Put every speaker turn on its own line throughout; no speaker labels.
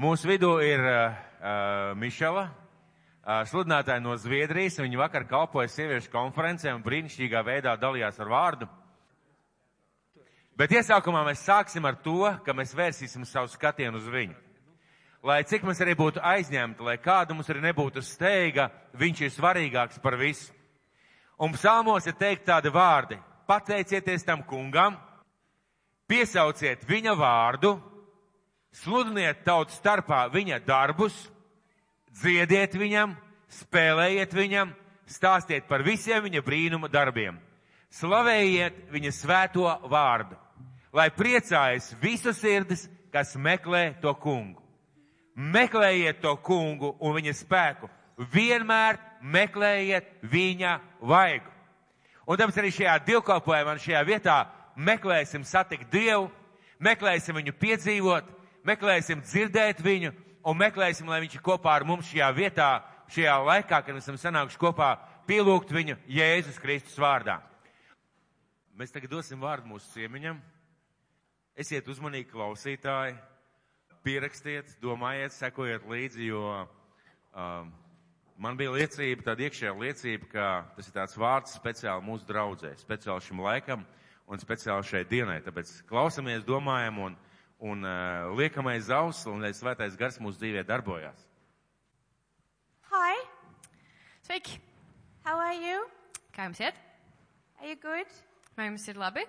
Mūsu vidū ir uh, Mišela, uh, sludinātāja no Zviedrijas. Viņa vakar kalpoja sieviešu konferencē un brīnišķīgā veidā dalījās ar vārdu. Bet iesākumā mēs sāksim ar to, ka mēs vērsīsim savu skatienu uz viņu. Lai cik mums arī būtu aizņemta, lai kāda mums arī nebūtu steiga, viņš ir svarīgāks par visu. Un psalmos ir teikt tādi vārdi - pateicieties tam kungam, piesauciet viņa vārdu, sludiniet tautu starpā viņa darbus, dziediet viņam, spēlējiet viņam, stāstiet par visiem viņa brīnuma darbiem. Slavējiet viņa svēto vārdu, lai priecājas visu sirdis, kas meklē to kungu. Meklējiet to kungu un viņa spēku. Vienmēr meklējiet viņa vaigu. Un tāpēc arī šajā divkopojumā, šajā vietā meklēsim satikt Dievu, meklēsim viņu piedzīvot, meklēsim dzirdēt viņu un meklēsim, lai viņš ir kopā ar mums šajā vietā, šajā laikā, kad esam sanākuši kopā, pielūgt viņu Jēzus Kristus vārdā. Mēs tagad dosim vārdu mūsu ciemiņam. Esiet uzmanīgi klausītāji, pierakstiet, domājiet, sekojiet līdzi, jo um, man bija liecība, tāda iekšējā liecība, ka tas ir tāds vārds speciāli mūsu draudzē, speciāli šim laikam un speciāli šai dienai. Tāpēc klausamies, domājam un, un uh, liekam aiz auss, un lai svētais gars mūsu dzīvē darbojās.
Hi,
Sveiki!
how are you?
Kā jums iet?
Are you good?
Vai jums ir labi?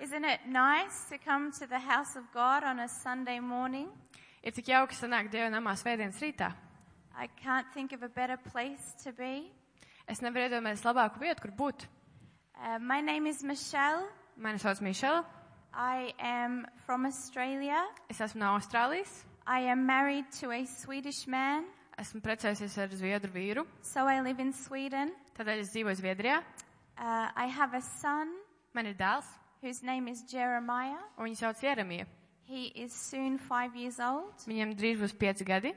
Isn't it nice to come to the house of God on a Sunday morning?
Ir tik jauki sanākt Dieva namā svētdienas rītā.
I can't think of a better place to be.
Es nevaru iedomāties labāku vietu, kur būt.
Uh, my name is Michelle.
Mani sauc Mišela,
I am from Australia.
es esmu no Austrālijas,
I am married to a Swedish man,
esmu precējusies ar zviedru vīru,
so I live in Sweden.
tādēļ es dzīvoju Zviedrijā.
Uh, I have a son
Man ir dēls,
whose name is Jeremiah.
un viņu sauc Jeremija.
He is soon five years old.
Viņam drīz būs pieci gadi,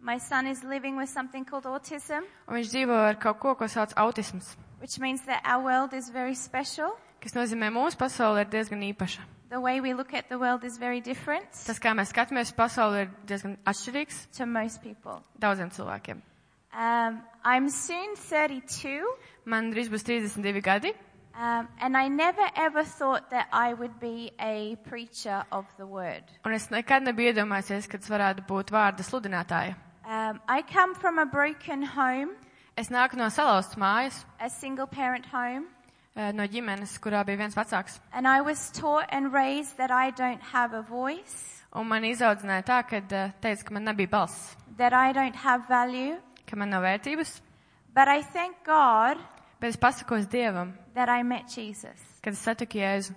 My son is living with something called autism,
un viņš dzīvo ar kaut ko, ko sauc autisms,
which means that our world is very special.
kas nozīmē mūsu pasaule ir diezgan īpaša.
The way we look at the world is very different
Tas, kā mēs skatāmies uz pasauli, ir diezgan atšķirīgs
to most people.
daudziem cilvēkiem.
Um, I'm soon 32,
Man drīz būs 32 gadi,
um, and I never ever thought that I would be a preacher of the word.
un es nekad nebiju iedomājies, ka tas varētu būt vārda sludinātāja.
Um, I come from a broken home,
Es nāku no salauztas mājas,
a single parent home,
eh, no ģimenes, kurā bija viens vecāks.
and I was taught and raised that I don't have a voice,
Un man izaudzināja tā, ka eh, teica, ka man nebija balss,
that I don't have value.
ka man nav vērtības.
But I thank God
Bet es pasakos Dievam,
that I met Jesus
kad es satiku Jēzu.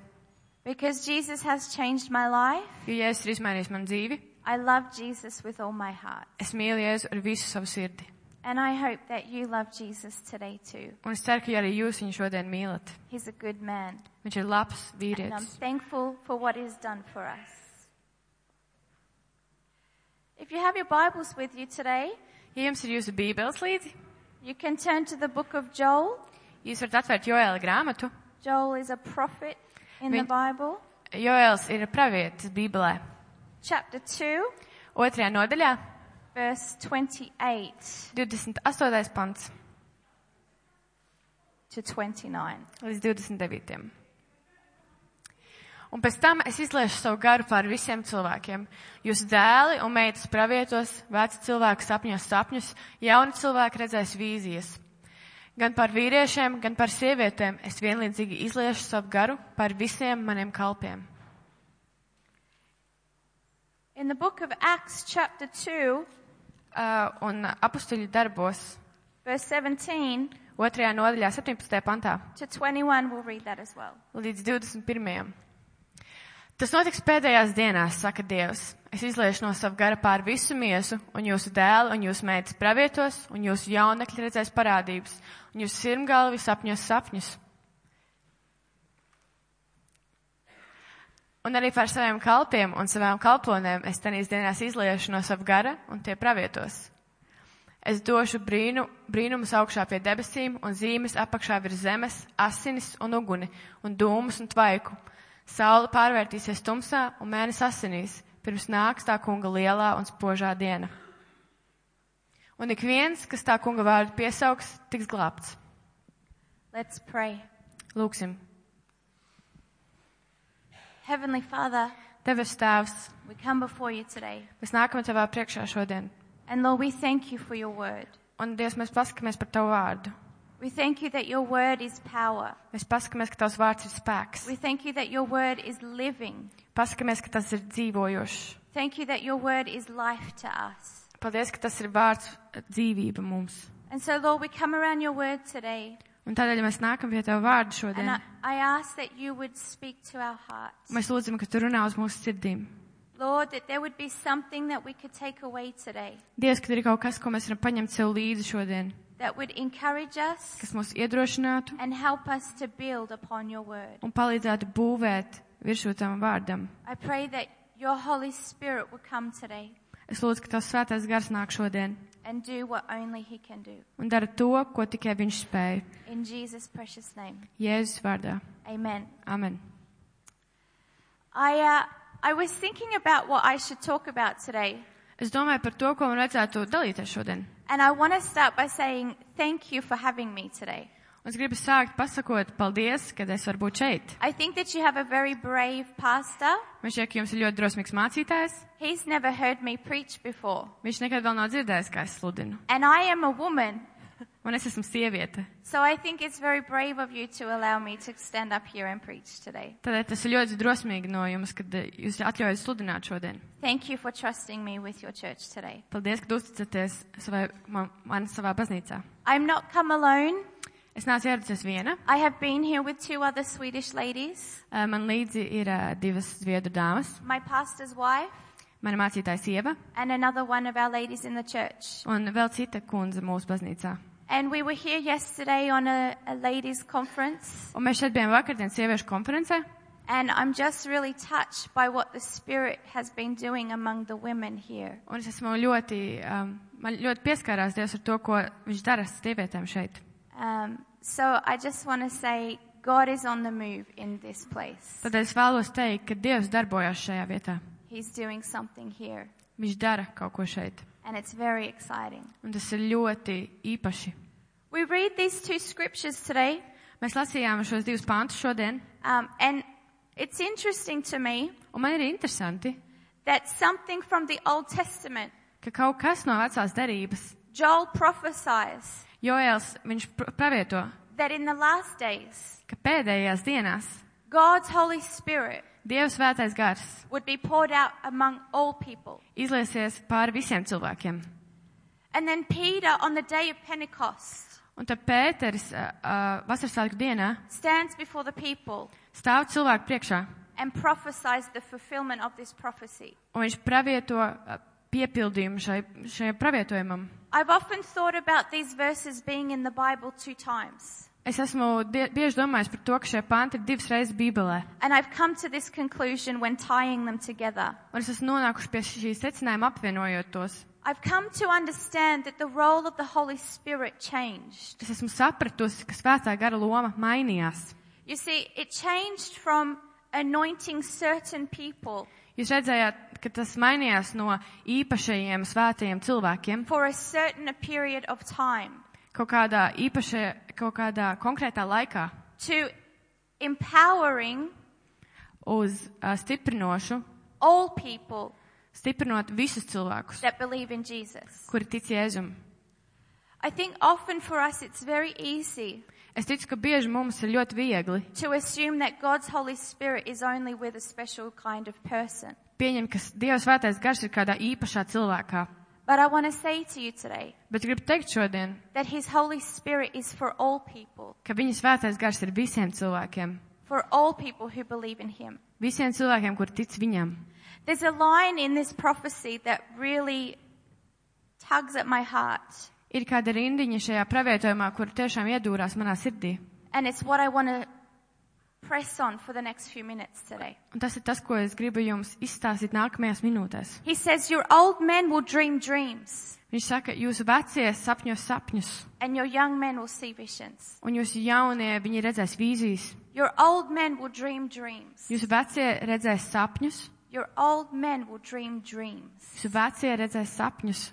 because Jesus has changed my life.
Jo Jēzus ir izmainījis man dzīvi.
I love Jesus with all my heart.
Es mīlu Jēzu ar visu savu sirdi.
And I hope that you love Jesus today too.
Un es ceru, ka arī jūs viņu šodien mīlat.
He's a good man.
Viņš ir labs
And I'm
vīrietis.
thankful for what he's done for us. If you have your Bibles with you today,
Ja jums ir jūsu bībeles līdzi,
you can turn to the book of Joel.
jūs varat atvērt Joēla grāmatu.
Joel is a prophet in the
Vin-
Bible.
Joēls ir pravietis Bībelē.
Chapter 2,
Otrajā nodaļā,
verse 28
28. pants
to 29.
līdz 29. Un pēc tam es izliešu savu garu pār visiem cilvēkiem. Jūsu dēli un meitas pravietos, veci cilvēki sapņos sapņus, jauni cilvēki redzēs vīzijas. Gan par vīriešiem, gan par sievietēm es vienlīdzīgi izliešu savu garu pār visiem maniem kalpiem.
In the book of Acts, chapter 2,
Uh, un apustuļu darbos,
verse 17
otrajā nodaļā, 17. pantā.
to 21, we'll read that as well.
līdz 21. Tas notiks pēdējās dienās, saka Dievs. Es izliešu no sava gara pār visu miesu, un jūsu dēlu un jūsu meitas pravietos, un jūsu jaunekļi redzēs parādības, un jūsu sirmgalvi sapņos sapņus. Un arī par saviem kalpiem un savām kalponēm es tenīs dienās izliešu no sava gara, un tie pravietos. Es došu brīnu, brīnumus augšā pie debesīm un zīmes apakšā virs zemes, asinis un uguni un dūmus un tvaiku. Saula pārvērtīsies tumsā un mēnesis asinīs, pirms nāks tā kunga lielā un spožā diena. Un ik viens, kas tā kunga vārdu piesauks, tiks glābts.
Let's pray.
Lūksim,
Heavenly Father,
Tevis Tēvs,
we come before you today.
mēs nākam Tavā priekšā šodien.
And Lord, we thank you for your word.
Un, Dievs, mēs pasakāmies par Tavu vārdu.
We thank you that your word is power.
Mēs pasakāmies, ka Tavs vārds ir spēks.
We thank you that your word is living.
Pasakāmies, ka tas ir dzīvojošs.
Thank you that your word is life to us.
Paldies, ka tas ir vārds eh, dzīvība mums.
And so, Lord, we come around your word today.
Un tādēļ mēs nākam pie Tava vārdu
And
šodien.
I, I ask that you would speak to our hearts.
Mēs lūdzam, ka Tu runā uz mūsu sirdīm.
Lord, that there would be something that we could take away today
Dievs, ka ir kaut kas, ko mēs varam paņemt sev līdzi šodien,
that would encourage us
kas mūs iedrošinātu
and help us to build upon your word.
un palīdzētu būvēt virsū tam vārdam.
I pray that your Holy Spirit will come today
Es lūdzu, ka Tavs svētais gars nāk šodien
and do what only he can do.
un dara to, ko tikai Viņš spēja.
In Jesus' precious name.
Jēzus vārdā.
Amen.
Amen.
I, uh, I was thinking about what I should talk about today,
Es domāju par to, ko man vajadzētu dalīties šodien.
and I want to start by saying thank you for having me today.
Un Es gribu sākt pasakot paldies, ka es varu būt šeit.
I think that you have a very brave pastor.
Man šķiet, ka jums ir ļoti drosmīgs mācītājs.
He's never heard me preach before,
Viņš nekad vēl nav dzirdējis, kā es sludinu.
and I am a woman,
Un es esmu sieviete.
so I think it's very brave of you to allow me to stand up here and preach today.
Tādēļ tas ir ļoti drosmīgi no jums, kad eh, jūs atļaujat sludināt šodien.
Thank you for trusting me with your church today.
Paldies, ka uzticaties savai, man, man savā baznīcā.
I'm not come alone.
Es nācu ieradusies viena.
I have been here with two other Swedish ladies,
Eh, Man līdzi ir eh, divas zviedru dāmas,
my pastor's wife,
mana mācītāja sieva
and another one of our ladies in the church.
un vēl cita kundze mūsu baznīcā.
And we were here yesterday on a, a ladies' conference,
Un mēs šeit bijām vakardienas sieviešu konferencē.
and I'm just really touched by what the Spirit has been doing among the women here.
Un es esmu ļoti, um, man ļoti pieskārās Dievs ar to, ko viņš dara ar sievietēm šeit.
Um, so I just want to say, God is on the move in this place.
Tad es vēlos teikt, ka Dievs darbojas šajā vietā.
He's doing something here,
Viņš dara kaut ko šeit.
and it's very exciting.
Un tas ir ļoti īpaši.
We read these two scriptures today,
Mēs lasījām šos divus pāntus šodien,
um, and it's interesting to me
un man ir interesanti,
that something from the Old Testament,
ka kaut kas no vecās derības,
Joel prophesies
Joēls, viņš pr- pravieto,
that in the last days,
ka pēdējās dienās
God's Holy Spirit
Dievs svētais gars
would be poured out among all people.
izliesies pāri visiem cilvēkiem.
And then Peter, on the day of Pentecost,
Un tad Pēteris uh, uh, vasarasvētku dienā
stands before the people
stāv cilvēku priekšā,
and prophesies the fulfillment of this prophecy.
un viņš pravieto uh, piepildījumu šai, šajam pravietojumam.
I've often thought about these verses being in the Bible two times,
Es esmu die- bieži domājis par to, ka šie panti ir divas reizes Bībelē,
and I've come to this conclusion when tying them together.
un es esmu nonākuši pie šī secinājuma apvienojot tos.
I've come to understand that the role of the Holy Spirit changed.
Es esmu sapratusi, ka svētā gara loma mainījās.
You see, it changed from anointing certain people
Jūs redzējāt, ka tas mainījās no īpašajiem svētajiem cilvēkiem
for a certain period of time.
kaut kādā, īpašajā, kaut kādā konkrētā laikā
to empowering
uz uh, stiprinošu,
all people
stiprinot visus cilvēkus,
that believe in Jesus.
kuri tic Jēzum.
I think often for us it's very easy
Es ticu, ka bieži mums ir ļoti viegli
to assume that God's Holy Spirit is only with a special kind of person.
pieņemt, ka Dieva svētais gars ir kādā īpašā cilvēkā.
But I want to say to you today
Bet gribu teikt šodien,
that His Holy Spirit is for all people,
ka viņa svētais gars ir visiem cilvēkiem.
for all people who believe in Him.
Visiem cilvēkiem, kur tic viņam.
There's a line in this prophecy that really tugs at my heart,
Ir kāda rindiņa šajā pravietojumā, kur tiešām iedūrās manā sirdī.
and it's what I want to press on for the next few minutes today.
Un tas ir tas, ko es gribu jums izstāstīt nākamajās minūtēs.
He says, Your old men will dream dreams,
Viņš saka, jūsu vecie sapņos sapņus,
and your young men will see visions.
un jūsu jaunie viņi redzēs vīzijas.
Your old men will dream dreams,
Jūsu vecie redzēs sapņus,
Your old men will dream dreams.
Jūsu vecie redzēs sapņus.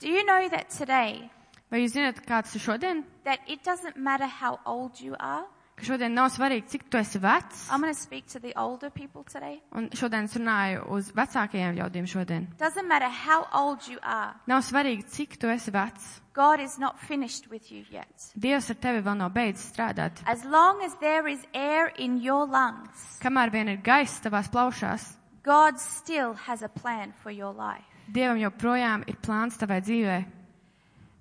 Do you know that today,
Vai jūs zināt, kāds ir šodien?
that it doesn't matter how old you are?
Ka šodien nav svarīgi, cik tu esi vecs.
I'm going to speak to the older people today.
Un šodien es runāju uz vecākajiem ļaudīm šodien.
Doesn't matter how old you are,
Nav svarīgi, cik tu esi vecs.
God is not finished with you yet.
Dievs ar tevi vēl nav beidzis strādāt.
As long as there is air in your lungs,
Kamēr vien ir gaiss tavās plaušās,
God still has a plan for your life.
Dievam joprojām ir plāns tavai dzīvē.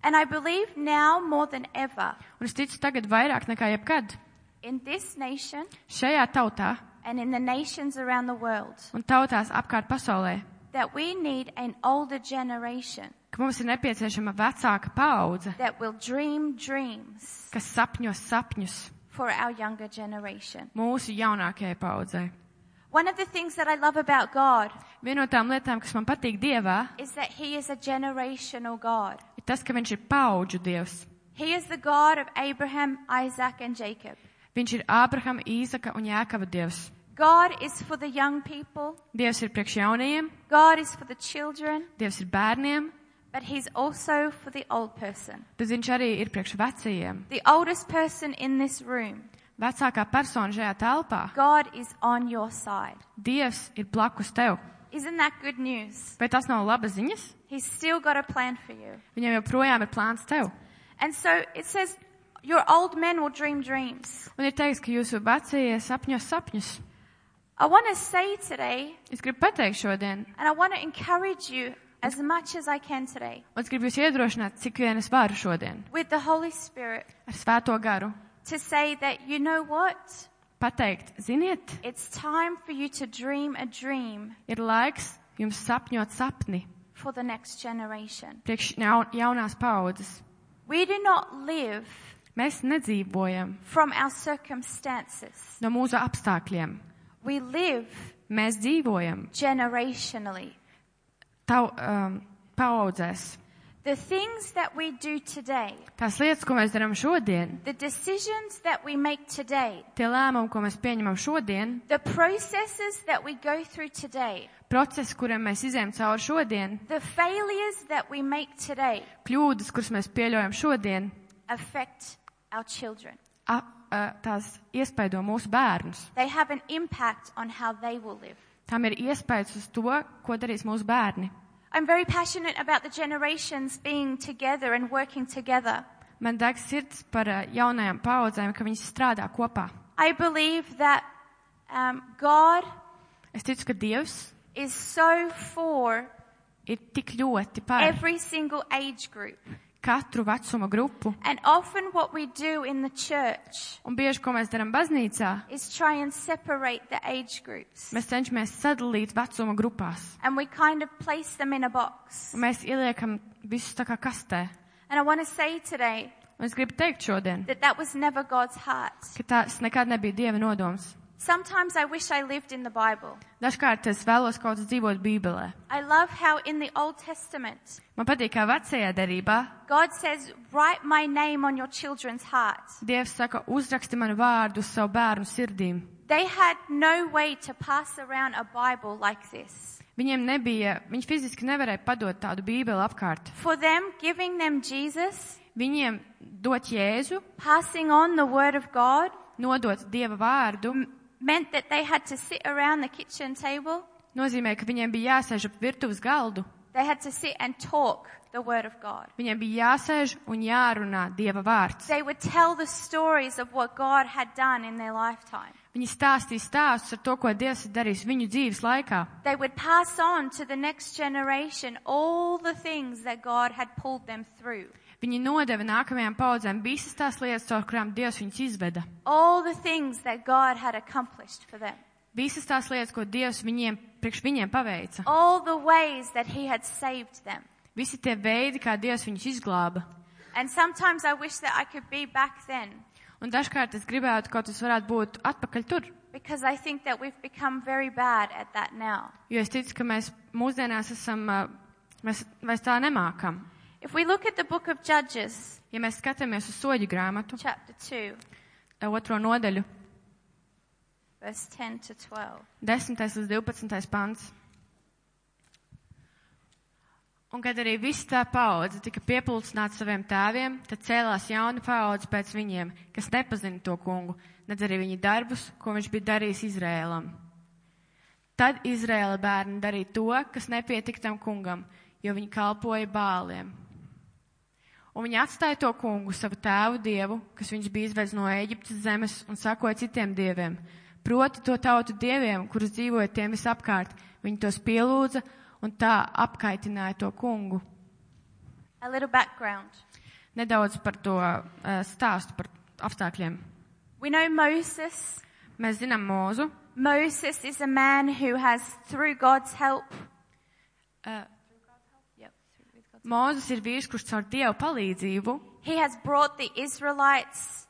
And I believe now more than ever
Un es ticu tagad vairāk nekā jebkad.
in this nation
Šajā tautā
and in the nations around the world
un tautās apkārt pasaulē,
that we need an older generation
ka mums ir nepieciešama vecāka paudze,
that will dream dreams
kas sapņo sapņus
for our younger generation.
mūsu jaunākajai paudzei.
One of the things that I love about God
Viena no tām lietām, kas man patīk Dievā,
is that He is a generational God.
ir tas, ka Viņš ir paudžu Dievs.
He is the God of Abraham, Isaac, and Jacob.
Viņš ir Ābrahama, Īzaka un Jākava Dievs.
God is for the young people,
Dievs ir priekš jaunajiem,
God is for the children,
Dievs ir bērniem,
but He's also for the old person.
bet Viņš arī ir priekš vecajiem.
The oldest person in this room,
Vecākā persona šajā telpā.
God is on your side.
Dievs ir blakus tev.
Isn't that good news?
Vai tas nav laba ziņas?
He's still got a plan for you.
Viņam joprojām ir plāns tev.
And so it says, Your old men will dream dreams.
Un ir teiks, ka jūsu vecie sapņos sapņus.
I want to say today,
Es gribu pateikt šodien,
and I want to encourage you as much as I can today,
un es gribu jūs iedrošināt, cik vien es varu šodien
with the Holy Spirit,
ar svēto garu.
to say that, you know what?
Pateikt, ziniet,
It's time for you to dream a dream
ir laiks jums sapņot sapni
for the next generation.
priekš jaun- jaunās paudzes.
We do not live
Mēs nedzīvojam
from our circumstances.
no mūsu apstākļiem.
We live
Mēs dzīvojam
generationally.
tau, um, paudzēs.
The things that we do today,
Tās lietas, ko mēs darām šodien,
the decisions that we make today,
tie lēmumi, ko mēs pieņemam šodien,
the processes that we go through today,
procesi, kuriem mēs izējām cauri šodien,
the failures that we make today
kļūdas, kuras mēs pieļaujam šodien,
affect our children.
a, a, tās iespaido mūsu bērnus.
They have an impact on how they will live.
Tam ir iespējas uz to, ko darīs mūsu bērni.
I'm very passionate about the generations being together and working together.
Man deg sirds par ā, jaunajām paudzēm, ka viņas strādā kopā.
I believe that um, God
Es ticu, ka Dievs
is so for
ir tik ļoti par
every single age group.
katru vecuma grupu.
And often what we do in the church
Un bieži, ko mēs darām baznīcā,
is try and separate the age groups.
mēs cenšamies sadalīt vecuma grupās.
And we kind of place them in a box.
Un mēs ieliekam visus tā kā kastē.
And I want to say today
Un es gribu teikt šodien,
that that was never God's heart.
ka tas nekad nebija Dieva nodoms.
Sometimes I wish I lived in the Bible.
Dažkārt es vēlos kaut kā dzīvot Bībelē.
I love how in the Old Testament,
Man patīk, kā vecajā derībā
God says, write my name on your children's hearts.
Dievs saka, uzraksti manu vārdu uz savu bērnu sirdīm.
They had no way to pass around a Bible like this.
Viņiem nebija, viņi fiziski nevarēja padot tādu bībeli apkārt.
For them, giving them Jesus,
Viņiem dot Jēzu,
passing on the Word of God,
nodot Dieva vārdu,
meant that they had to sit around the kitchen table.
nozīmē, ka viņiem bija jāsēž ap virtuves galdu.
They had to sit and talk the Word of God.
Viņiem bija jāsēž un jārunā Dieva vārds.
They would tell the stories of what God had done in their lifetime.
Viņi stāstīja stāstus ar to, ko Dievs ir darījis viņu dzīves laikā.
They would pass on to the next generation all the things that God had pulled them through,
Viņi nodeva nākamajām paudzēm visas tās lietas, caur kurām Dievs viņus izveda.
all the things that God had accomplished for them,
Visas tās lietas, ko Dievs viņiem, priekš viņiem paveica.
all the ways that He had saved them.
Visi tie veidi, kā Dievs viņus izglāba.
And sometimes I wish that I could be back then
Un dažkārt es gribētu, kaut tas varētu būt atpakaļ tur.
because I think that we've become very bad at that now.
Jo es ticu, ka mēs mūsdienās esam, ā, mēs vairs tā nemākam.
If we look at the book of Judges,
Ja mēs skatāmies uz soļu grāmatu,
chapter 2,
ā, otro nodaļu,
verse 10 to 12,
10. līdz 12. pants, Un kad arī viss tā paudze tika piepildīta saviem tēviem, tad cēlās jauna paudze pēc viņiem, kas nepazina to kungu, nedz arī viņa darbus, ko viņš bija darījis Izrēlam. Tad Izrēla bērni darīja to, kas nepietika tam kungam, jo viņi kalpoja bāliem. Un viņi atstāja to kungu, savu tēvu dievu, kas viņš bija izvedis no Ēģiptes zemes un sakoja citiem dieviem. Proti to tautu dieviem, kurus dzīvoja tiem visapkārt, viņi tos pielūdza un tā apkaitināja to kungu.
A little background.
Nedaudz par to eh, stāstu par apstākļiem.
We know Moses.
Mēs zinām mūzu.
Moses is a man who has, through God's help,
Mūzes Eh, ir vīrs, kurš caur dievu palīdzību
he has brought the Israelites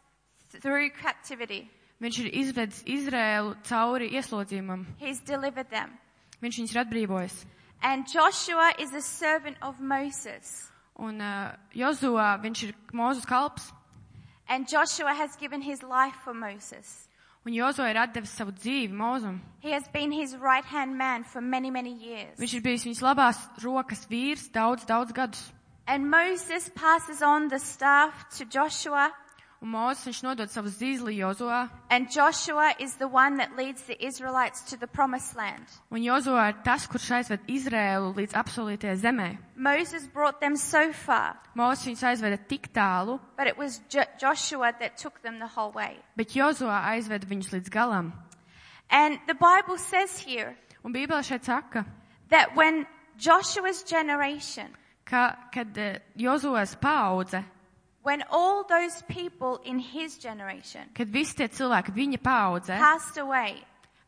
through captivity.
viņš ir izvedis Izrēlu cauri ieslodzījumam.
He's delivered them.
Viņš viņus ir atbrīvojis.
And Joshua is a servant of Moses.
Un uh, Jozuā viņš ir mūzes kalps,
And Joshua has given his life for Moses.
un Jozuā ir atdevis savu dzīvi mūzum.
He has been his right hand man for many, many years.
Viņš ir bijis viņas labās rokas vīrs daudz, daudz gadus.
And Moses passes on the staff to Joshua,
Un mūzes viņš nodod savu zīzli Jozuā,
and Joshua is the one that leads the Israelites to the promised land.
un Jozuā ir tas, kurš aizved Izrēlu līdz apsolītajai zemē.
Moses brought them so far,
Mūzes viņus aizveda tik tālu,
but it was jo- Joshua that took them the whole way.
bet Jozuā aizveda viņus līdz galam.
And the Bible says here
Un Bībelē šeit saka,
that when Joshua's generation,
ka, kad Jozuēs paudze,
when all those people in his generation
kad visi tie cilvēki viņa paudze,
passed away,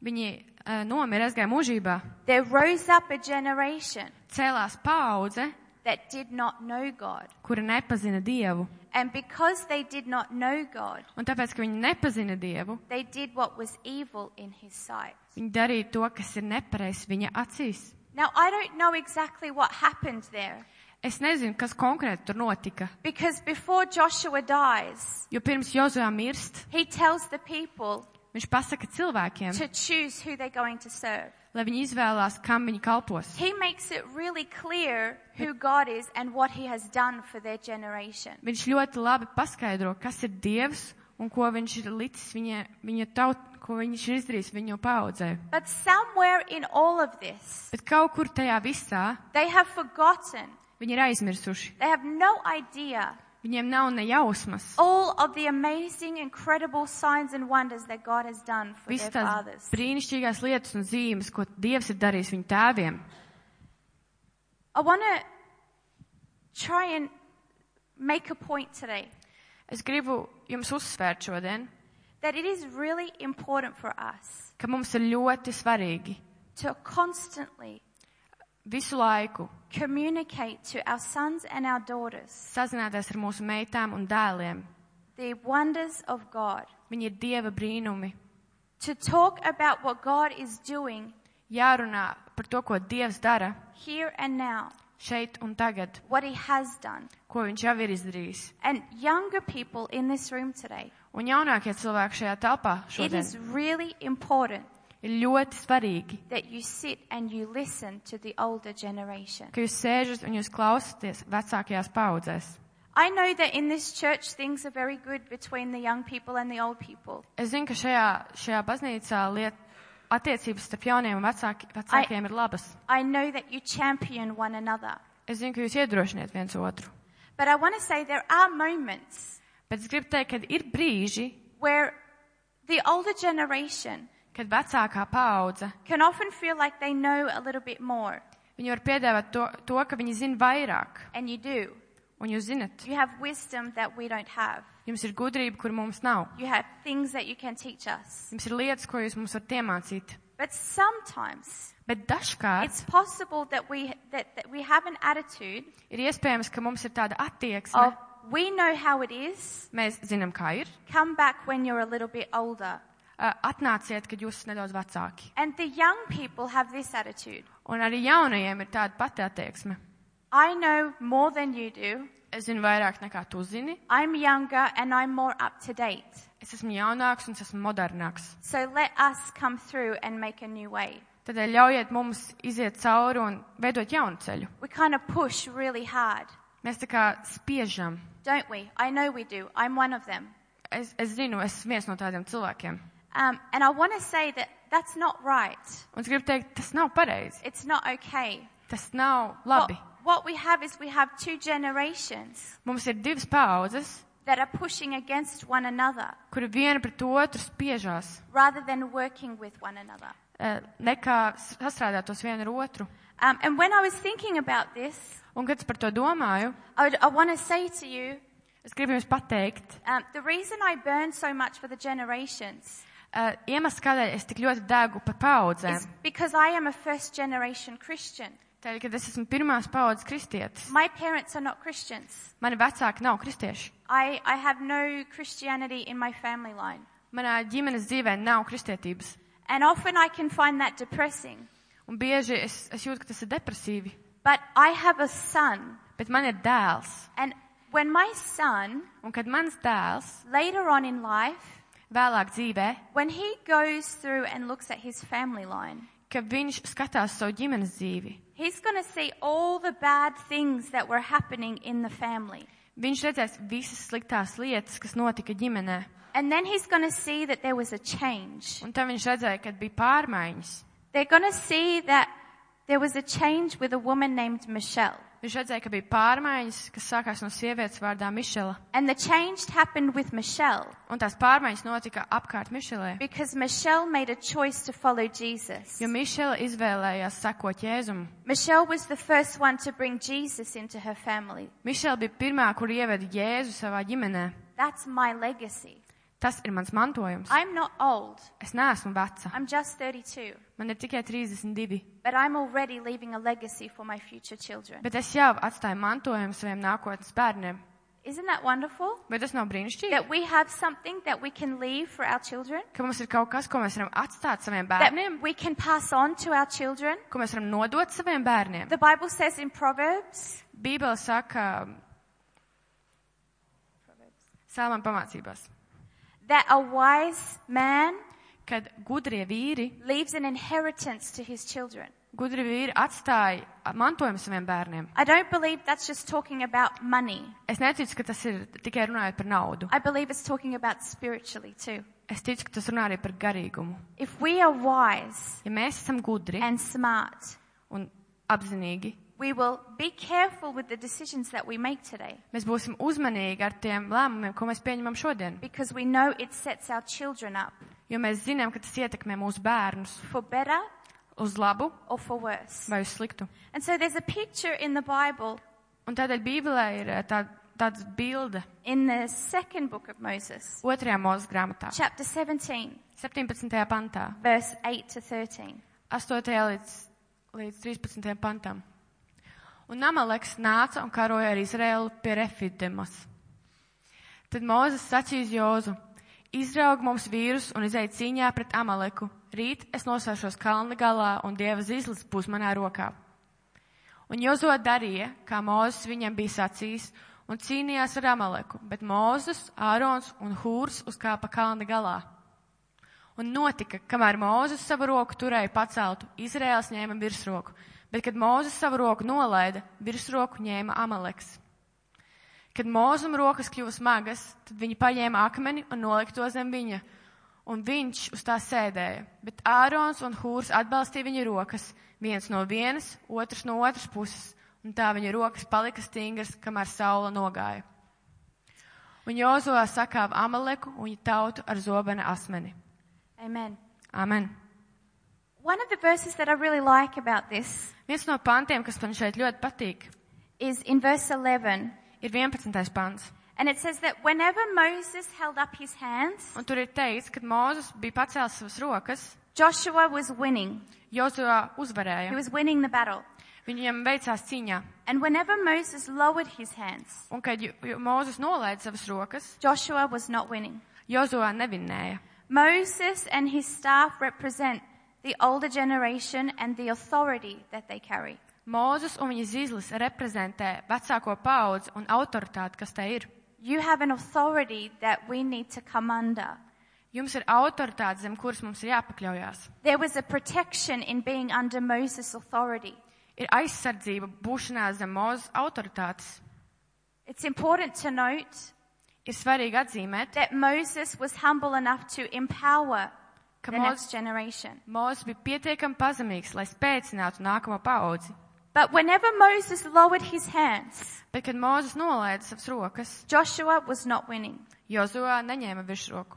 viņi eh, nomira, aizgāja mūžībā,
there rose up a generation
cēlās paudze,
that did not know God.
kura nepazina Dievu.
And because they did not know God,
Un tāpēc, ka viņi nepazina Dievu,
they did what was evil in his sight.
viņi darīja to, kas ir nepareizs viņa acīs.
Now, I don't know exactly what happened there
Es nezinu, kas konkrēti tur notika,
because before Joshua dies,
jo pirms Jozuā mirst,
he tells the people
viņš pasaka cilvēkiem,
to choose who they're going to serve.
lai viņi izvēlās, kam viņi kalpos.
He makes it really clear who God is and what he has done for their generation.
Viņš ļoti labi paskaidro, kas ir Dievs un ko viņš ir licis viņa, viņa taut, ko viņš ir izdarījis viņu paudzē.
But somewhere in all of this,
Bet kaut kur tajā visā
they have forgotten,
viņi ir aizmirsuši.
they have no idea
Viņiem nav ne jausmas.
all of the amazing, incredible signs and wonders that God has done for
Visas
their
tās
fathers.
brīnišķīgās lietas un zīmes, ko Dievs ir darījis viņu tēviem.
I want to try and make a point today
Es gribu jums uzsvērt šodien,
that it is really important for us
ka mums ir ļoti svarīgi
to constantly
visu laiku
communicate to our sons and our daughters
sazināties ar mūsu meitām un dēliem.
the wonders of God,
Viņi ir Dieva brīnumi.
to talk about what God is doing
Jārunā par to, ko Dievs dara
here and now,
šeit un tagad,
what He has done.
ko Viņš jau ir izdarījis.
And younger people in this room today,
Un jaunākie cilvēki šajā telpā
it is
šodien
really important
ir ļoti svarīgi,
that you sit and you listen to the older generation.
ka jūs sēžat un jūs klausāties vecākajās paudzēs.
I know that in this church things are very good between the young people and the old people.
Es zinu, ka šajā, šajā baznīcā liet, attiecības starp jauniem un vecāki, vecākiem ir labas.
I know that you champion one another.
Es zinu, ka jūs iedrošiniet viens otru.
But I want to say there are moments
Bet es gribu teikt, ka ir brīži,
where the older generation
kad vecākā paudze
can often feel like they know a little bit more.
Viņi var piedāvāt to, to, ka viņi zina vairāk,
And you do.
un jūs zinat,
You have wisdom that we don't have.
jums ir gudrība, kur mums nav.
You have things that you can teach us.
Jums ir lietas, ko jūs mums varat iemācīt.
But sometimes
Bet dažkārt
it's possible that we, that, that we have an attitude
ir iespējams, ka mums ir tāda attieksme,
of we know how it is,
mēs zinām, kā ir.
come back when you're a little bit older.
Ā, Atnāciet, kad jūs esat nedaudz vecāki.
And the young people have this attitude.
Un arī jaunajiem ir tāda pati attieksme.
I know more than you do.
Es zinu vairāk nekā tu zini,
I'm younger and I'm more up to date.
es esmu jaunāks un es esmu modernāks.
So let us come through and make a new way.
Tādēļ ļaujiet mums iziet cauri un veidot jaunu ceļu.
We kind of push really hard,
Mēs tā kā spiežam.
don't we? I know we do. I'm one of them.
Es, es zinu, es esmu viens no tādiem cilvēkiem.
Um, and I want to say that that's not right.
Un es gribu teikt, tas nav pareizi.
It's not okay.
Tas nav
What,
labi.
what we have is we have two generations
Mums ir divas paudzes,
that are pushing against one another
kuri viena pret otru spiežās,
rather than working with one another.
eh, nekā s- sastrādātos viena ar otru.
Um, and when I was thinking about this,
Un, kad es par to domāju,
I, would, I want to say to you
es gribu jums pateikt,
um, the reason I burn so much for the generations
eh, iemesls, kādēļ es tik ļoti degu par paudzēm.
is because I am a first generation Christian.
Tādēļ, kad es esmu pirmās paudzes kristietis,
My parents are not Christians.
mani vecāki nav kristieši.
I, I have no Christianity in my family line.
Manā ģimenes dzīvē nav kristietības.
And often I can find that depressing.
Un bieži es, es jūtu, ka tas ir depresīvi.
But I have a son.
Bet man ir dēls.
And when my son,
Un kad mans dēls
later on in life,
vēlāk dzīvē,
when he goes through and looks at his family line,
ka viņš skatās savu ģimenes dzīvi,
he's going to see all the bad things that were happening in the family.
Viņš redzēs visas sliktās lietas, kas notika ģimenē.
And then he's going to see that there was a change.
Un tad viņš redzēja, kad bija pārmaiņas.
They're going to see that there was a change with a woman named Michelle.
Viņš redzēja, ka bija pārmaiņas, kas sākās no sievietes vārdā Mišela.
And the change happened with Michelle
Un tās pārmaiņas notika apkārt Mišelē.
because Michelle made a choice to follow Jesus.
Jo Mišela izvēlējās sekot Jēzumam.
Michelle was the first one to bring Jesus into her family.
Mišela bija pirmā, kur ieveda Jēzu savā ģimenē.
That's my legacy.
Tas ir mans mantojums.
I'm not old.
Es neesmu veca.
I'm just 32,
Man ir tikai 32.
but I'm already leaving a legacy for my future children.
Bet es jau atstāju mantojumu saviem nākotnes bērniem.
Isn't that wonderful?
Vai tas nav brīnišķīgi?
That we have something that we can leave for our children,
Ka mums ir kaut kas, ko mēs varam atstāt saviem
that
bērniem?
we can pass on to our children.
ko mēs varam nodot saviem bērniem.
The Bible says in Proverbs,
Bībele saka, Sālman pamācībās,
that a wise man
kad gudrie vīri,
leaves an inheritance to his children.
gudrie vīri atstāja mantojumu saviem bērniem.
I don't believe that's just talking about money.
Es neticu, ka tas ir tikai runājot par naudu.
I believe it's talking about spiritually too.
Es ticu, ka tas runā arī par garīgumu.
If we are wise
Ja mēs esam gudri
and smart,
un apzinīgi,
we will be careful with the decisions that we make today
mēs būsim uzmanīgi ar tiem lēmumiem, ko mēs pieņemam šodien.
because we know it sets our children up
Jo mēs zinām, ka tas ietekmē mūsu bērnus
for better
uz labu
or for worse.
vai uz sliktu.
And so there's a picture in the Bible
Un tādēļ Bībelē ir eh, tā, tāds bilde.
in the second book of Moses,
Otrajā mūža grāmatā,
chapter 17,
17. pantā,
verse 8 to 13.
8. līdz, līdz 13. pantam. Un Amaleks nāca un karoja ar Izraēlu pie Refidemas. Tad Mozus sacīja uz Jozu: Izraug mums vīrus un izai cīņā pret Amaleku. Rīt es nosēšos kalna galā un dieva zīslis būs manā rokā. Un Jozo darīja, kā Mozus viņam bija sacījis, un cīnījās ar Amaleku, bet Mozus, Ārons un Hūrs uzkāpa kalna galā. Un notika, kamēr Mozus savu roku turēja paceltu, Izraels ņēma virsroku, bet kad Mozus savu roku nolaida, virsroku ņēma Amaleks. Kad Mozum rokas kļuva smagas, tad viņi paņēma akmeni un nolika to zem viņa, un viņš uz tā sēdēja. Bet Ārons un Hūrs atbalstīja viņa rokas, viens no vienas, otrs no otras puses, un tā viņa rokas palika stingras, kamēr saula nogāja. Un Jozoā sakāva Amaleku un viņa tautu ar zobena asmeni.
Amen.
Amen.
One of the verses that I really like about this
Viens no pantiem, kas man šeit ļoti patīk,
is in verse 11.
ir 11. pants.
And it says that whenever Moses held up his hands,
Un tur ir teikts, kad Mozus bija pacēlis savas rokas,
Joshua was winning.
Jozoā
He
uzvarēja.
was winning the battle.
Viņam veicās cīņā.
And whenever Moses lowered his hands,
Un kad Jo- Jo- Mozus nolaida savas rokas,
Joshua was not winning.
Jozoā nevinēja.
Moses and his staff represent the older generation and the authority that they carry.
Mozus un viņa zīles reprezentē vecāko paudzi un autoritāti, kas te ir.
You have an authority that we need to come under.
Jums ir autoritāte, zem kuras mums ir jāpakļaujās.
There was a protection in being under Moses' authority.
Ir aizsardzība būšanā zem mūža autoritātes.
It's important to note
Ir svarīgi atzīmēt,
that Moses was humble enough to empower
ka
the next
Mozus
generation.
Mozus bija pietiekami pazemīgs, lai spēcinātu nākamo paudzi.
But whenever Moses lowered his hands,
Bet, kad Mozus nolaida savas rokas,
Joshua was not winning.
Jozua neņēma virsroku.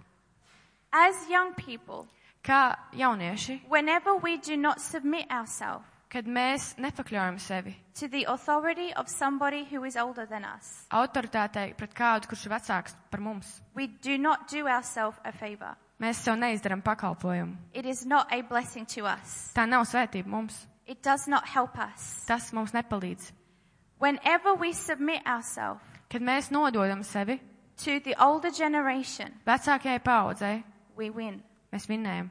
As young people,
Kā jaunieši,
whenever we do not submit ourselves
kad mēs nepakļaujam sevi
to the authority of somebody who is older than us,
autoritātei pret kādu, kurš ir vecāks par mums,
we do not do ourselves a favor.
mēs sev neizdaram pakalpojumu.
It is not a blessing to us.
Tā nav svētība mums.
It does not help us.
Tas mums nepalīdz.
Whenever we submit ourselves
Kad mēs nododam sevi
to the older generation,
vecākajai paudzei,
we win.
mēs vinnējam.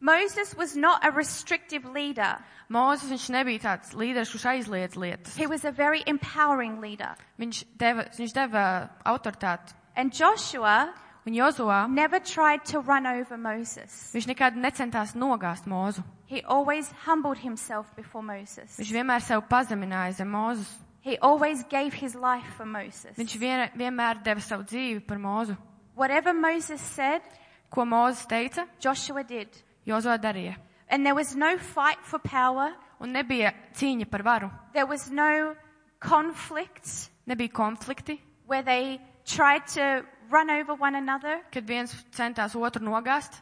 Moses was not a restrictive leader.
Mozus viņš nebija tāds līderis, kurš aizliedz lietas.
He was a very empowering leader.
Viņš deva, viņš deva autoritāti.
And Joshua
Un Jozua
never tried to run over Moses.
viņš nekad necentās nogāzt Mozu.
He always humbled himself before Moses.
Viņš vienmēr sev pazemināja zem Mozus.
He always gave his life for Moses.
Viņš vien, vienmēr deva savu dzīvi par Mozu.
Whatever Moses said,
Ko Mozus teica,
Joshua did.
Jozua darīja.
And there was no fight for power.
Un nebija cīņa par varu,
There was no conflict
nebija konflikti,
where they tried to run over one another.
kad viens centās otru nogāzt.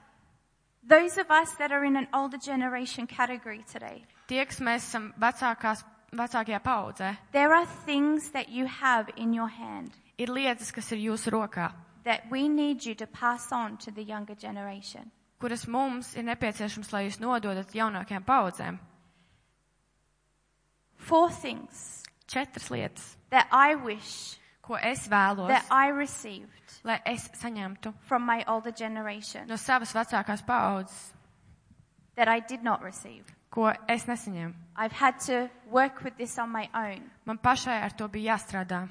Those of us that are in an older generation category today,
Tie, kas mēs esam vecākās, vecākajā paudzē,
there are things that you have in your hand
ir lietas, kas ir jūsu rokā,
that we need you to pass on to the younger generation.
kuras mums ir nepieciešams, lai jūs nododat jaunākajām paudzēm.
Four things
Četras lietas,
that I wish
ko es vēlos,
that I received
lai es saņemtu
from my older generation
no savas vecākās paudzes,
that I did not receive.
ko es nesaņēmu.
I've had to work with this on my own.
Man pašai ar to bija jāstrādā.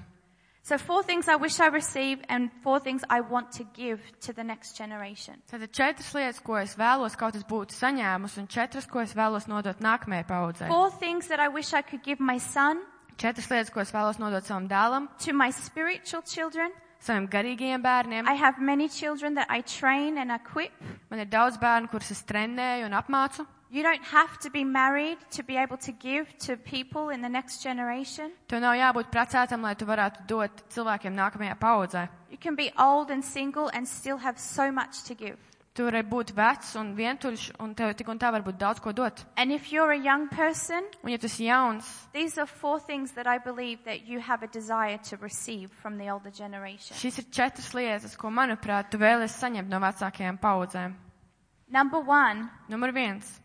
So four things I wish I received and four things I want to give to the next generation.
Tātad četras lietas, ko es vēlos kaut kas būtu saņēmus, un četras, ko es vēlos nodot nākamajai paudzei.
Four things that I wish I could give my son,
Četras lietas, ko es vēlos nodot savam dēlam,
to my spiritual children.
saviem garīgajiem bērniem.
I have many children that I train and equip.
Man ir daudz bērnu, kurus es trenēju un apmācu.
You don't have to be married to be able to give to people in the next generation.
Tev nav jābūt precētam, lai tu varētu dot cilvēkiem nākamajā paudzē.
You can be old and single and still have so much to give.
Tu vari būt vecs un vientuļš, un tev tik un tā var būt daudz ko dot.
And if you're a young person,
Un ja tu esi jauns,
these are four things that I believe that you have a desire to receive from the older generation.
šīs ir četras lietas, ko, manuprāt, tu vēlies saņemt no vecākajām paudzēm.
Number one,
Numur viens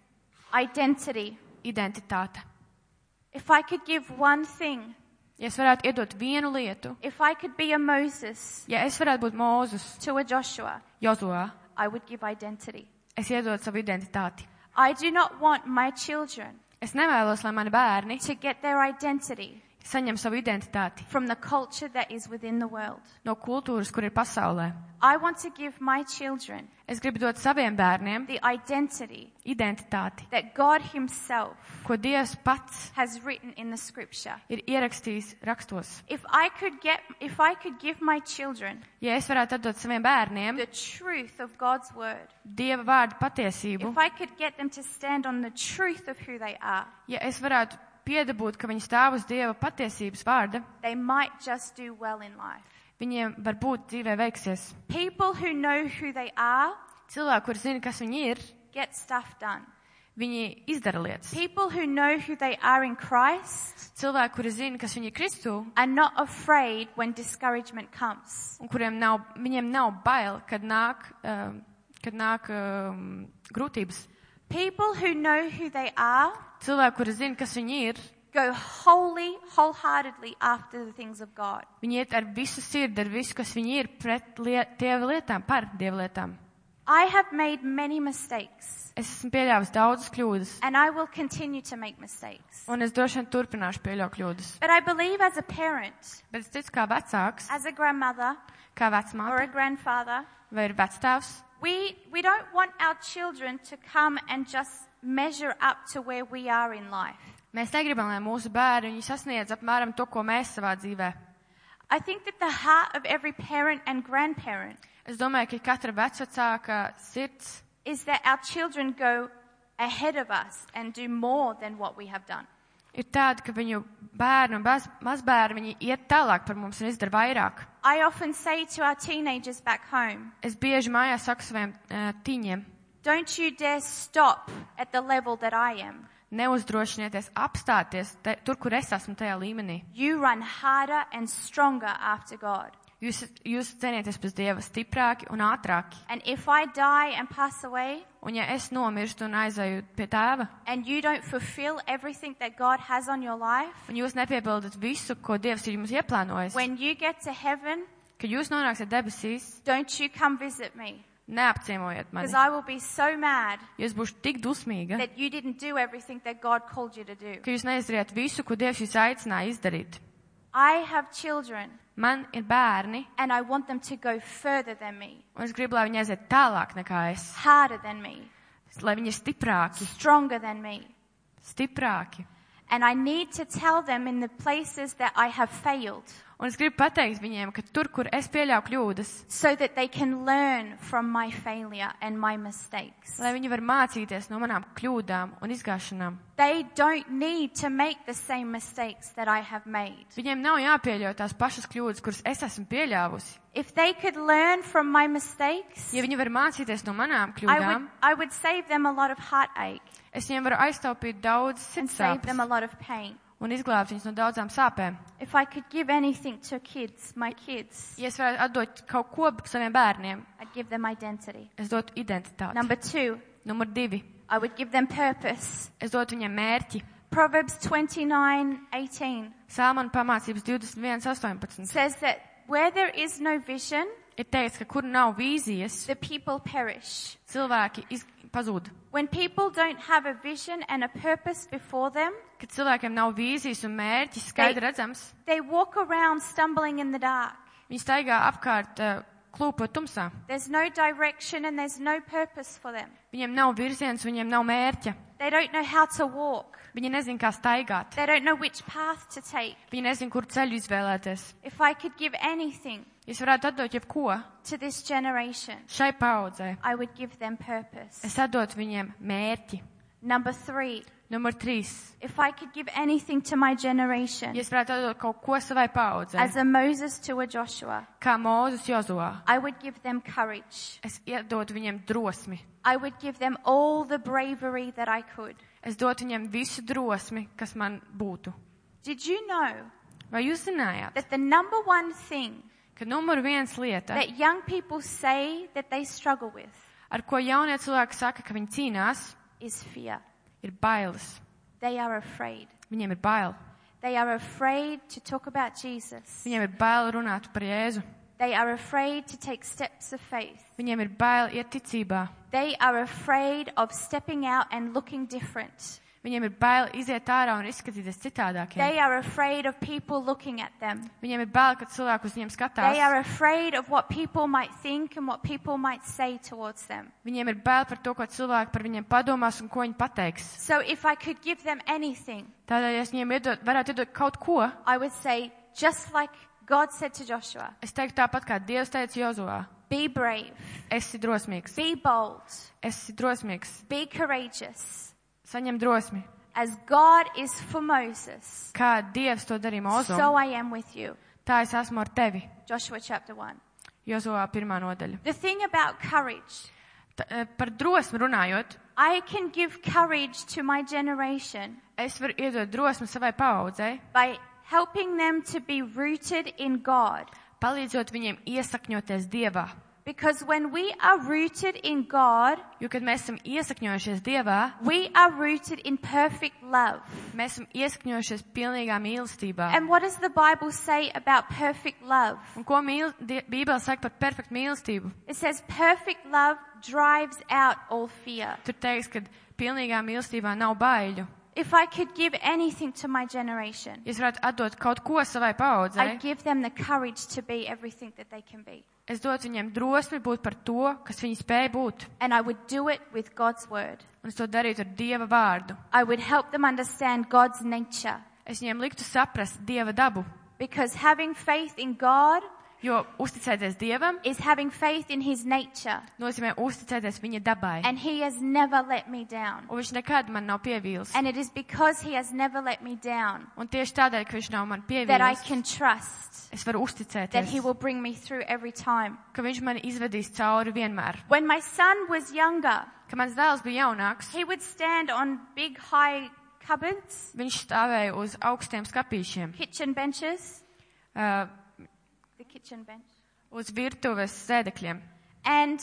identity.
- identitāte.
If I could give one thing,
Ja es varētu iedot vienu lietu,
if I could be a Moses
ja es varētu būt Mozus,
to a Joshua,
Jozovā,
I would give identity.
es iedotu savu identitāti.
I do not want my children
Es nevēlos, lai mani bērni
to get their identity
saņem savu identitāti
from the culture that is within the world.
no kultūras, kur ir pasaulē.
I want to give my children
Es gribu dot saviem bērniem
the identity
identitāti,
that God Himself
ko Dievs pats
has written in the scripture.
ir ierakstījis rakstos.
If I could get, if I could give my children
Ja es varētu dot saviem bērniem
the truth of God's word,
Dieva vārdu patiesību,
if I could get them to stand on the truth of who they are,
ja es varētu piedabūt, ka viņi stāv uz Dieva patiesības vārda,
they might just do well in life.
viņiem varbūt dzīvē veiksies.
People who know who they are
Cilvēki, kuri zina, kas viņi ir,
get stuff done.
viņi izdara lietas.
People who know who they are in Christ
Cilvēki, kuri zina, kas viņi ir Kristū,
are not afraid when discouragement comes.
un kuriem nav, viņiem nav bail, kad nāk, um, kad nāk um, grūtības.
People who know who they are
Cilvēki, kuri zina, kas viņi ir,
go wholly, wholeheartedly after the things of God.
viņi iet ar visu sirdi, ar visu, kas viņi ir, pret liet, dieva lietām, par dieva lietām.
I have made many mistakes
Es esmu pieļāvis daudzas kļūdas,
and I will continue to make mistakes.
un es droši vien turpināšu pieļaut kļūdas.
But I believe as a parent,
Bet es ticu, kā vecāks,
as a grandmother
kā
or a
vecmāte
grandfather,
vai ir vectēvs,
we, we don't want our children to come and just measure up to where we are in life.
Mēs negribam, lai mūsu bērni viņi sasniedz apmēram to, ko mēs savā dzīvē.
I think that the heart of every parent and grandparent
Es domāju, ka katra vecāka sirds
is that our children go ahead of us and do more than what we have done.
ir tāda, ka viņu bērni un baz- mazbērni viņi iet tālāk par mums un izdara vairāk.
I often say to our teenagers back home,
Es bieži mājās saku saviem uh, tiņiem,
don't you dare stop at the level that I am.
neuzdrošinieties apstāties te, tur, kur es esmu tajā līmenī.
You run harder and stronger after God.
Jūs, jūs cenieties pēc Dieva stiprāki un ātrāki.
And if I die and pass away,
Un ja es nomirstu un aizēju pie tēva,
and you don't fulfill everything that God has on your life,
un jūs nepiebildat visu, ko Dievs ir jums ieplānojis,
when you get to heaven,
kad jūs nonāksiet debesīs,
don't you come visit me.
neapciemojiet
Because I
mani.
will be so mad
Jo es būšu tik dusmīga,
that you didn't do everything that God called you to do.
ka jūs neizdariet visu, ko Dievs jūs aicināja izdarīt.
I have children
Man ir bērni,
and I want them to go further than me,
un es gribu, lai viņi aiziet tālāk nekā es,
harder than me,
lai viņi ir stiprāki,
stronger than me.
stiprāki.
And I need to tell them in the places that I have failed
Un es gribu pateikt viņiem, ka tur, kur es pieļauju kļūdas,
so that they can learn from my failure and my mistakes.
lai viņi var mācīties no manām kļūdām un izgāšanām.
They don't need to make the same mistakes that I have made.
Viņiem nav jāpieļauj tās pašas kļūdas, kuras es esmu pieļāvusi.
If they could learn from my mistakes,
Ja viņi var mācīties no manām
I would,
kļūdām,
I would save them a lot of heartache
es viņiem varu aiztaupīt daudz
and save them a
sirdsāpes
lot of pain.
un izglābt viņus no daudzām sāpēm.
If I could give anything to kids, my kids,
Ja es varētu atdot kaut ko saviem bērniem,
I'd give them identity.
es dotu identitāti.
Number two,
Numur divi.
I would give them purpose.
Es dotu viņiem mērķi.
Proverbs 29:18
Sāmana pamācības 21, 18.
says that where there is no vision,
Ir teikts, ka kur nav vīzijas,
the people perish.
cilvēki iz... pazūd.
When people don't have a vision and a purpose before them,
Kad cilvēkiem nav vīzijas un mērķi skaidri redzams,
they walk around stumbling in the dark.
viņi staigā apkārt eh, klūpo tumsā.
There's no direction and there's no purpose for them.
Viņiem nav virziens, viņiem nav mērķa.
They don't know how to walk.
Viņi nezin, kā staigāt.
They don't know which path to take.
Viņi nezin, kur ceļu izvēlēties.
If I could give anything
Jūs varētu atdot jebko
to this generation,
šai paudzē.
I would give them purpose.
Es atdotu viņiem mērķi.
Number three,
Numur trīs.
if I could give anything to my generation,
Jūs varētu atdot kaut ko savai paudzē.
as a Moses to a Joshua,
Kā Mozus Jozoā.
I would give them courage.
Es iedotu viņiem drosmi.
I would give them all the bravery that I could.
Es dotu viņiem visu drosmi, kas man būtu.
Did you know
Vai jūs zinājāt,
that the number one thing
ka numur viens lieta,
that young people say that they struggle with
ar ko jaunie cilvēki saka, ka viņi cīnās,
is fear?
ir bailes.
They are afraid.
Viņiem ir bail.
They are afraid to talk about Jesus.
Viņiem ir bail runāt par Jēzu.
They are afraid to take steps of faith.
Viņiem ir bail iet ticībā.
They are afraid of stepping out and looking different.
Viņiem ir bail iziet ārā un izskatīties citādākiem.
They are afraid of people looking at them.
Viņiem ir bail, kad cilvēki uz viņiem
They
skatās.
are afraid of what people might think and what people might say towards them.
Viņiem ir bail par to, ko cilvēki par viņiem padomās un ko viņi pateiks.
So if I could give them anything,
Tādēļ, ja es viņiem iedot, varētu iedot kaut ko,
I would say, just like God said to Joshua,
es teiktu tāpat, kā Dievs teica Jozoā.
be brave,
Esi drosmīgs,
be bold,
esi drosmīgs,
be courageous.
saņem drosmi.
As God is for Moses,
Kā Dievs to darīja
so
Mozum,
I am with you.
tā es esmu ar tevi.
Joshua chapter 1.
Jozoā pirmā nodaļa.
The thing about courage,
T par drosmi runājot,
I can give courage to my generation
es varu iedot drosmi savai paudzei,
by helping them to be rooted in God.
palīdzot viņiem iesakņoties Dievā.
Because when we are rooted in God,
Jo, kad mēs esam iesakņojušies Dievā,
we are rooted in perfect love.
mēs esam iesakņojušies pilnīgā mīlestībā.
And what does the Bible say about perfect love?
Un ko mīl, die, Bībele saka par perfektu mīlestību?
It says perfect love drives out all fear.
Tur teiks, ka pilnīgā mīlestībā nav baiļu.
If I could give anything to my generation,
Ja es varētu atdot kaut ko savai paudzei,
I'd give them the courage to be everything that they can be.
es dotu viņiem drosmi būt par to, kas viņi spēja būt.
And I would do it with God's word.
Un es to darītu ar Dieva vārdu.
I would help them understand God's nature.
Es viņiem liktu saprast Dieva dabu,
Because having faith in God
jo uzticēties Dievam
is having faith in His nature.
nozīmē uzticēties Viņa dabai.
And He has never let me down.
Un viņš nekad man nav pievīlis.
And it is because He has never let me down
Un tieši tādēļ, ka viņš nav man
that I
pievīlis,
can trust
es varu
that
uzticēties,
He will bring me through every time.
ka viņš mani izvedīs cauri vienmēr.
When my son was younger,
Kad mans dēls bija jaunāks,
he would stand on big high cupboards,
viņš stāvēja uz augstiem skapīšiem,
kitchen benches,
uh,
the kitchen bench.
uz virtuves sēdekļiem.
And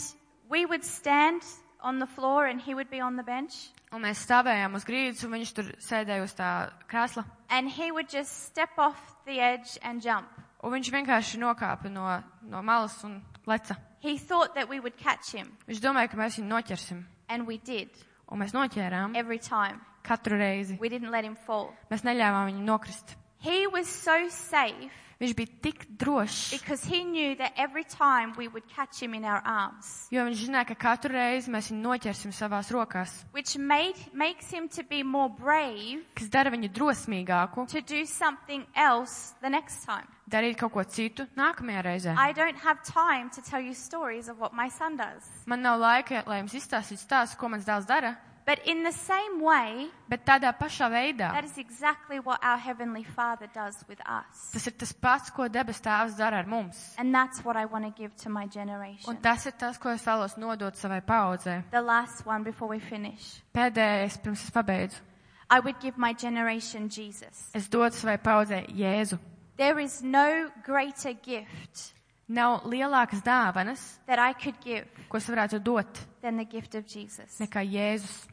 we would stand on the floor and he would be on the bench.
Un mēs stāvējām uz grīdas, un viņš tur sēdēja uz tā krēsla.
And he would just step off the edge and jump.
Un viņš vienkārši nokāpa no, no malas un leca.
He thought that we would catch him,
Viņš domāja, ka mēs viņu noķersim.
and we did
Un mēs noķērām
every time.
katru reizi.
We didn't let him fall.
Mēs neļāvām viņu nokrist.
He was so safe
Viņš bija tik drošs,
because he knew that every time we would catch him in our arms,
jo viņš zināja, ka katru reizi mēs viņu noķersim savās rokās,
which made, makes him to be more brave
kas dara viņu drosmīgāku,
to do something else the next time.
darīt kaut ko citu nākamajā reizē.
I don't have time to tell you stories of what my son does.
Man nav laika, lai jums izstāstītu stāstu, ko mans dēls dara,
But in the same way,
bet tādā pašā veidā
that is exactly what our Heavenly Father does with us.
tas ir tas pats, ko debes tēvs dara ar mums.
And that's what I want to give to my
Un
generation.
tas ir tas, ko es vēlos nodot savai paudzē.
The last one before we finish.
Pēdējais, pirms es pabeidzu,
I would give my generation Jesus.
es dodu savai paudzē Jēzu.
There is no greater gift
Nav lielākas dāvanas,
that I could give
ko es varētu dot,
than the gift of Jesus.
nekā Jēzus.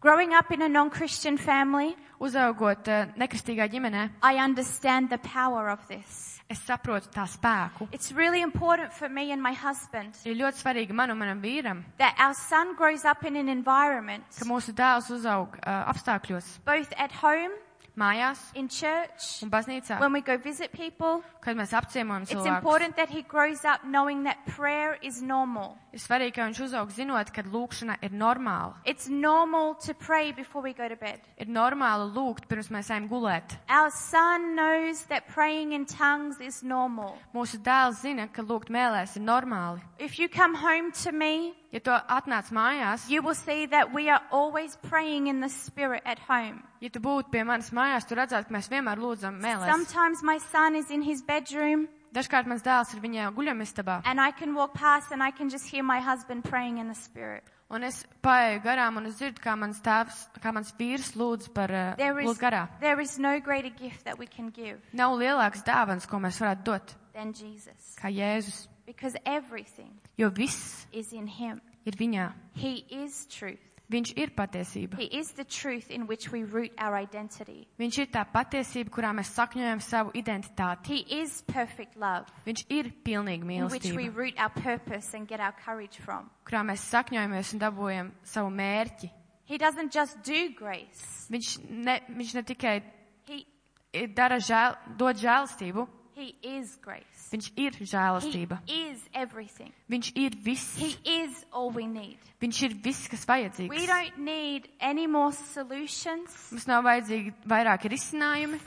Growing up in a non Christian family,
Uzaugot eh, nekristīgā ģimenē,
I understand the power of this.
es saprotu tā spēku.
It's really important for me and my husband
Ir ļoti svarīgi man un manam vīram,
that our son grows up in an environment,
ka mūsu dēls uzaug uh, apstākļos,
both at home,
mājās
in church,
un baznīcā,
when we go visit people.
kad mēs apciemojam
It's
cilvēkus.
important that he grows up knowing that prayer is normal.
Ir svarīgi, ka viņš uzaug zinot, ka lūkšana ir normāla.
It's normal to pray before we go to bed.
Ir normāli lūgt, pirms mēs ejam gulēt.
Our son knows that praying in tongues is normal.
Mūsu dēls zina, ka lūgt mēlēs ir normāli.
If you come home to me,
Ja tu atnāc mājās,
you will see that we are always praying in the spirit at home.
ja tu būtu pie manas mājās, tu redzētu, ka mēs vienmēr lūdzam mēlēs.
Sometimes my son is in his bedroom
Dažkārt mans dēls ir viņa guļamistabā,
and I can walk past and I can just hear my husband praying in the spirit.
un es paeju garām, un es dzirdu, kā mans tēvs, kā mans vīrs lūdz par eh,
There is,
lūdz garā.
there is no greater gift that we can give
Nav lielāks dāvans, ko mēs varētu dot,
than Jesus
kā Jēzus,
because everything
jo viss
is in him.
ir viņā.
He is truth.
Viņš ir patiesība.
He is the truth in which we root our identity.
Viņš ir tā patiesība, kurā mēs sakņojam savu identitāti.
He is perfect love
Viņš ir pilnīgi
in which we
mīlestība,
root our purpose and get our courage from.
kurā mēs sakņojamies un dabūjam savu mērķi.
He doesn't just do grace.
Viņš ne, viņš ne tikai
He
ir- dara žēl, dod žēlastību,
he is grace.
viņš ir
He
žēlastība.
is everything.
Viņš ir
He
viss.
is all we need.
Viņš ir viss, kas
We
vajadzīgs.
don't need any more solutions,
Mums nav vajadzīgi vairāki risinājumi,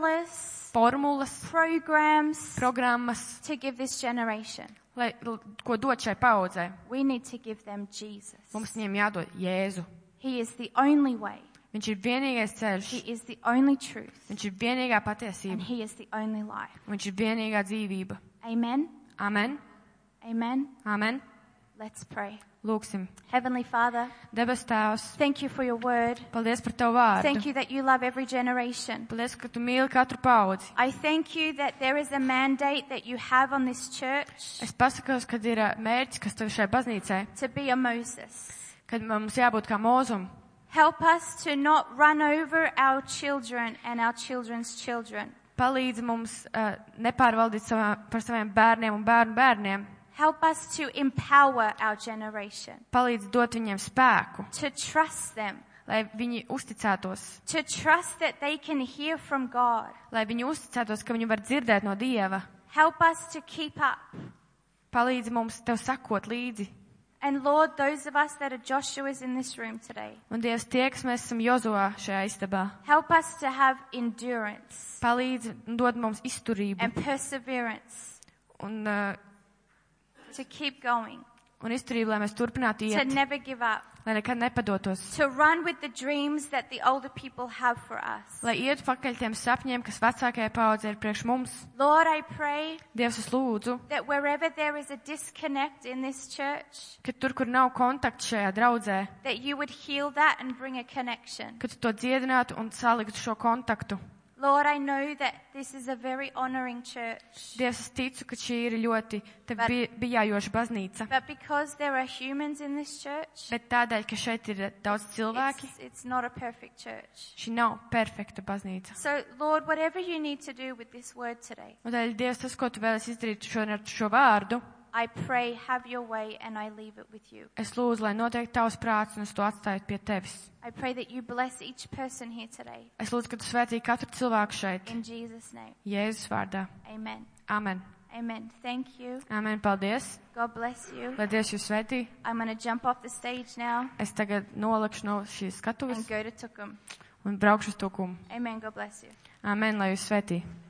formulas,
formulas,
programs
programmas,
to give this generation.
lai, l- ko dot šai paudzē.
We need to give them Jesus.
Mums viņiem jādod Jēzu.
He is the only way.
Viņš ir vienīgais ceļš,
He is the only truth.
viņš ir vienīgā
And
patiesība,
he is the only life.
viņš ir vienīgā dzīvība.
Amen.
Amen,
Amen.
amen.
Let's pray.
Lūksim.
Heavenly Father,
Debes Tēvs,
thank you for your word.
paldies par Tavu
Thank
vārdu.
you that you love every generation.
Paldies, ka Tu mīli katru paudzi.
I thank you that there is a mandate that you have on this church
Es pasakos, kad ir ā, mērķis, kas tev šai baznīcai,
to be a Moses.
kad mums jābūt kā mūzum.
Help us to not run over our children and our children's children.
Palīdz mums uh, nepārvaldīt savā, par saviem bērniem un bērnu bērniem.
Help us to empower our generation,
Palīdz dot viņiem spēku,
to trust them,
lai viņi uzticētos,
to trust that they can hear from God.
lai viņi uzticētos, ka viņi var dzirdēt no Dieva.
Help us to keep up.
Palīdzi mums tev sakot līdzi.
And Lord, those of us that are Joshua's in this room today,
Un Dievs tie, kas mēs esam Jozovā šajā istabā,
help us to have endurance
palīdzi un dod mums izturību
and perseverance
un, uh,
to keep going,
un izturību, lai mēs turpinātu
to
iet,
never give up,
lai nekad nepadotos,
to run with the dreams that the older people have for us.
lai iet pakaļ tiem sapņiem, kas vecākajai paudzei ir priekš mums.
Lord, I pray
Dievs, es lūdzu,
that wherever there is a disconnect in this church,
ka tur, kur nav kontakta šajā draudzē,
that you would heal that and bring a connection.
ka tu to dziedinātu un saliktu šo kontaktu.
Lord, I know that this is a very honoring church,
Dievs, es ticu, ka šī ir ļoti tev bij- bijājoša baznīca.
but because there are humans in this church,
Bet tādēļ, ka šeit ir daudz
it's,
cilvēki,
it's not a perfect church.
šī nav perfekta baznīca.
So, Lord, whatever you need to do with this word today,
Un tādēļ, Dievs, tas, ko tu vēlies izdarīt šodien ar šo vārdu,
I pray, have your way, and I leave it with you.
es lūdzu, lai notiek tavs prāts un es to atstāju pie tevis.
I pray that you bless each person here today.
Es lūdzu, ka tu svētī katru cilvēku šeit.
In Jesus' name,
Jēzus vārdā.
amen.
Amen.
Amen. Thank you.
Amen. Paldies.
God bless you.
Lai Dievs jūs svētī.
I'm going to jump off the stage now
Es tagad nolikšu no šīs
and
skatuves
go to Tukum.
un braukšu uz tukumu.
Amen. God bless you.
Amen. Lai jūs svētī.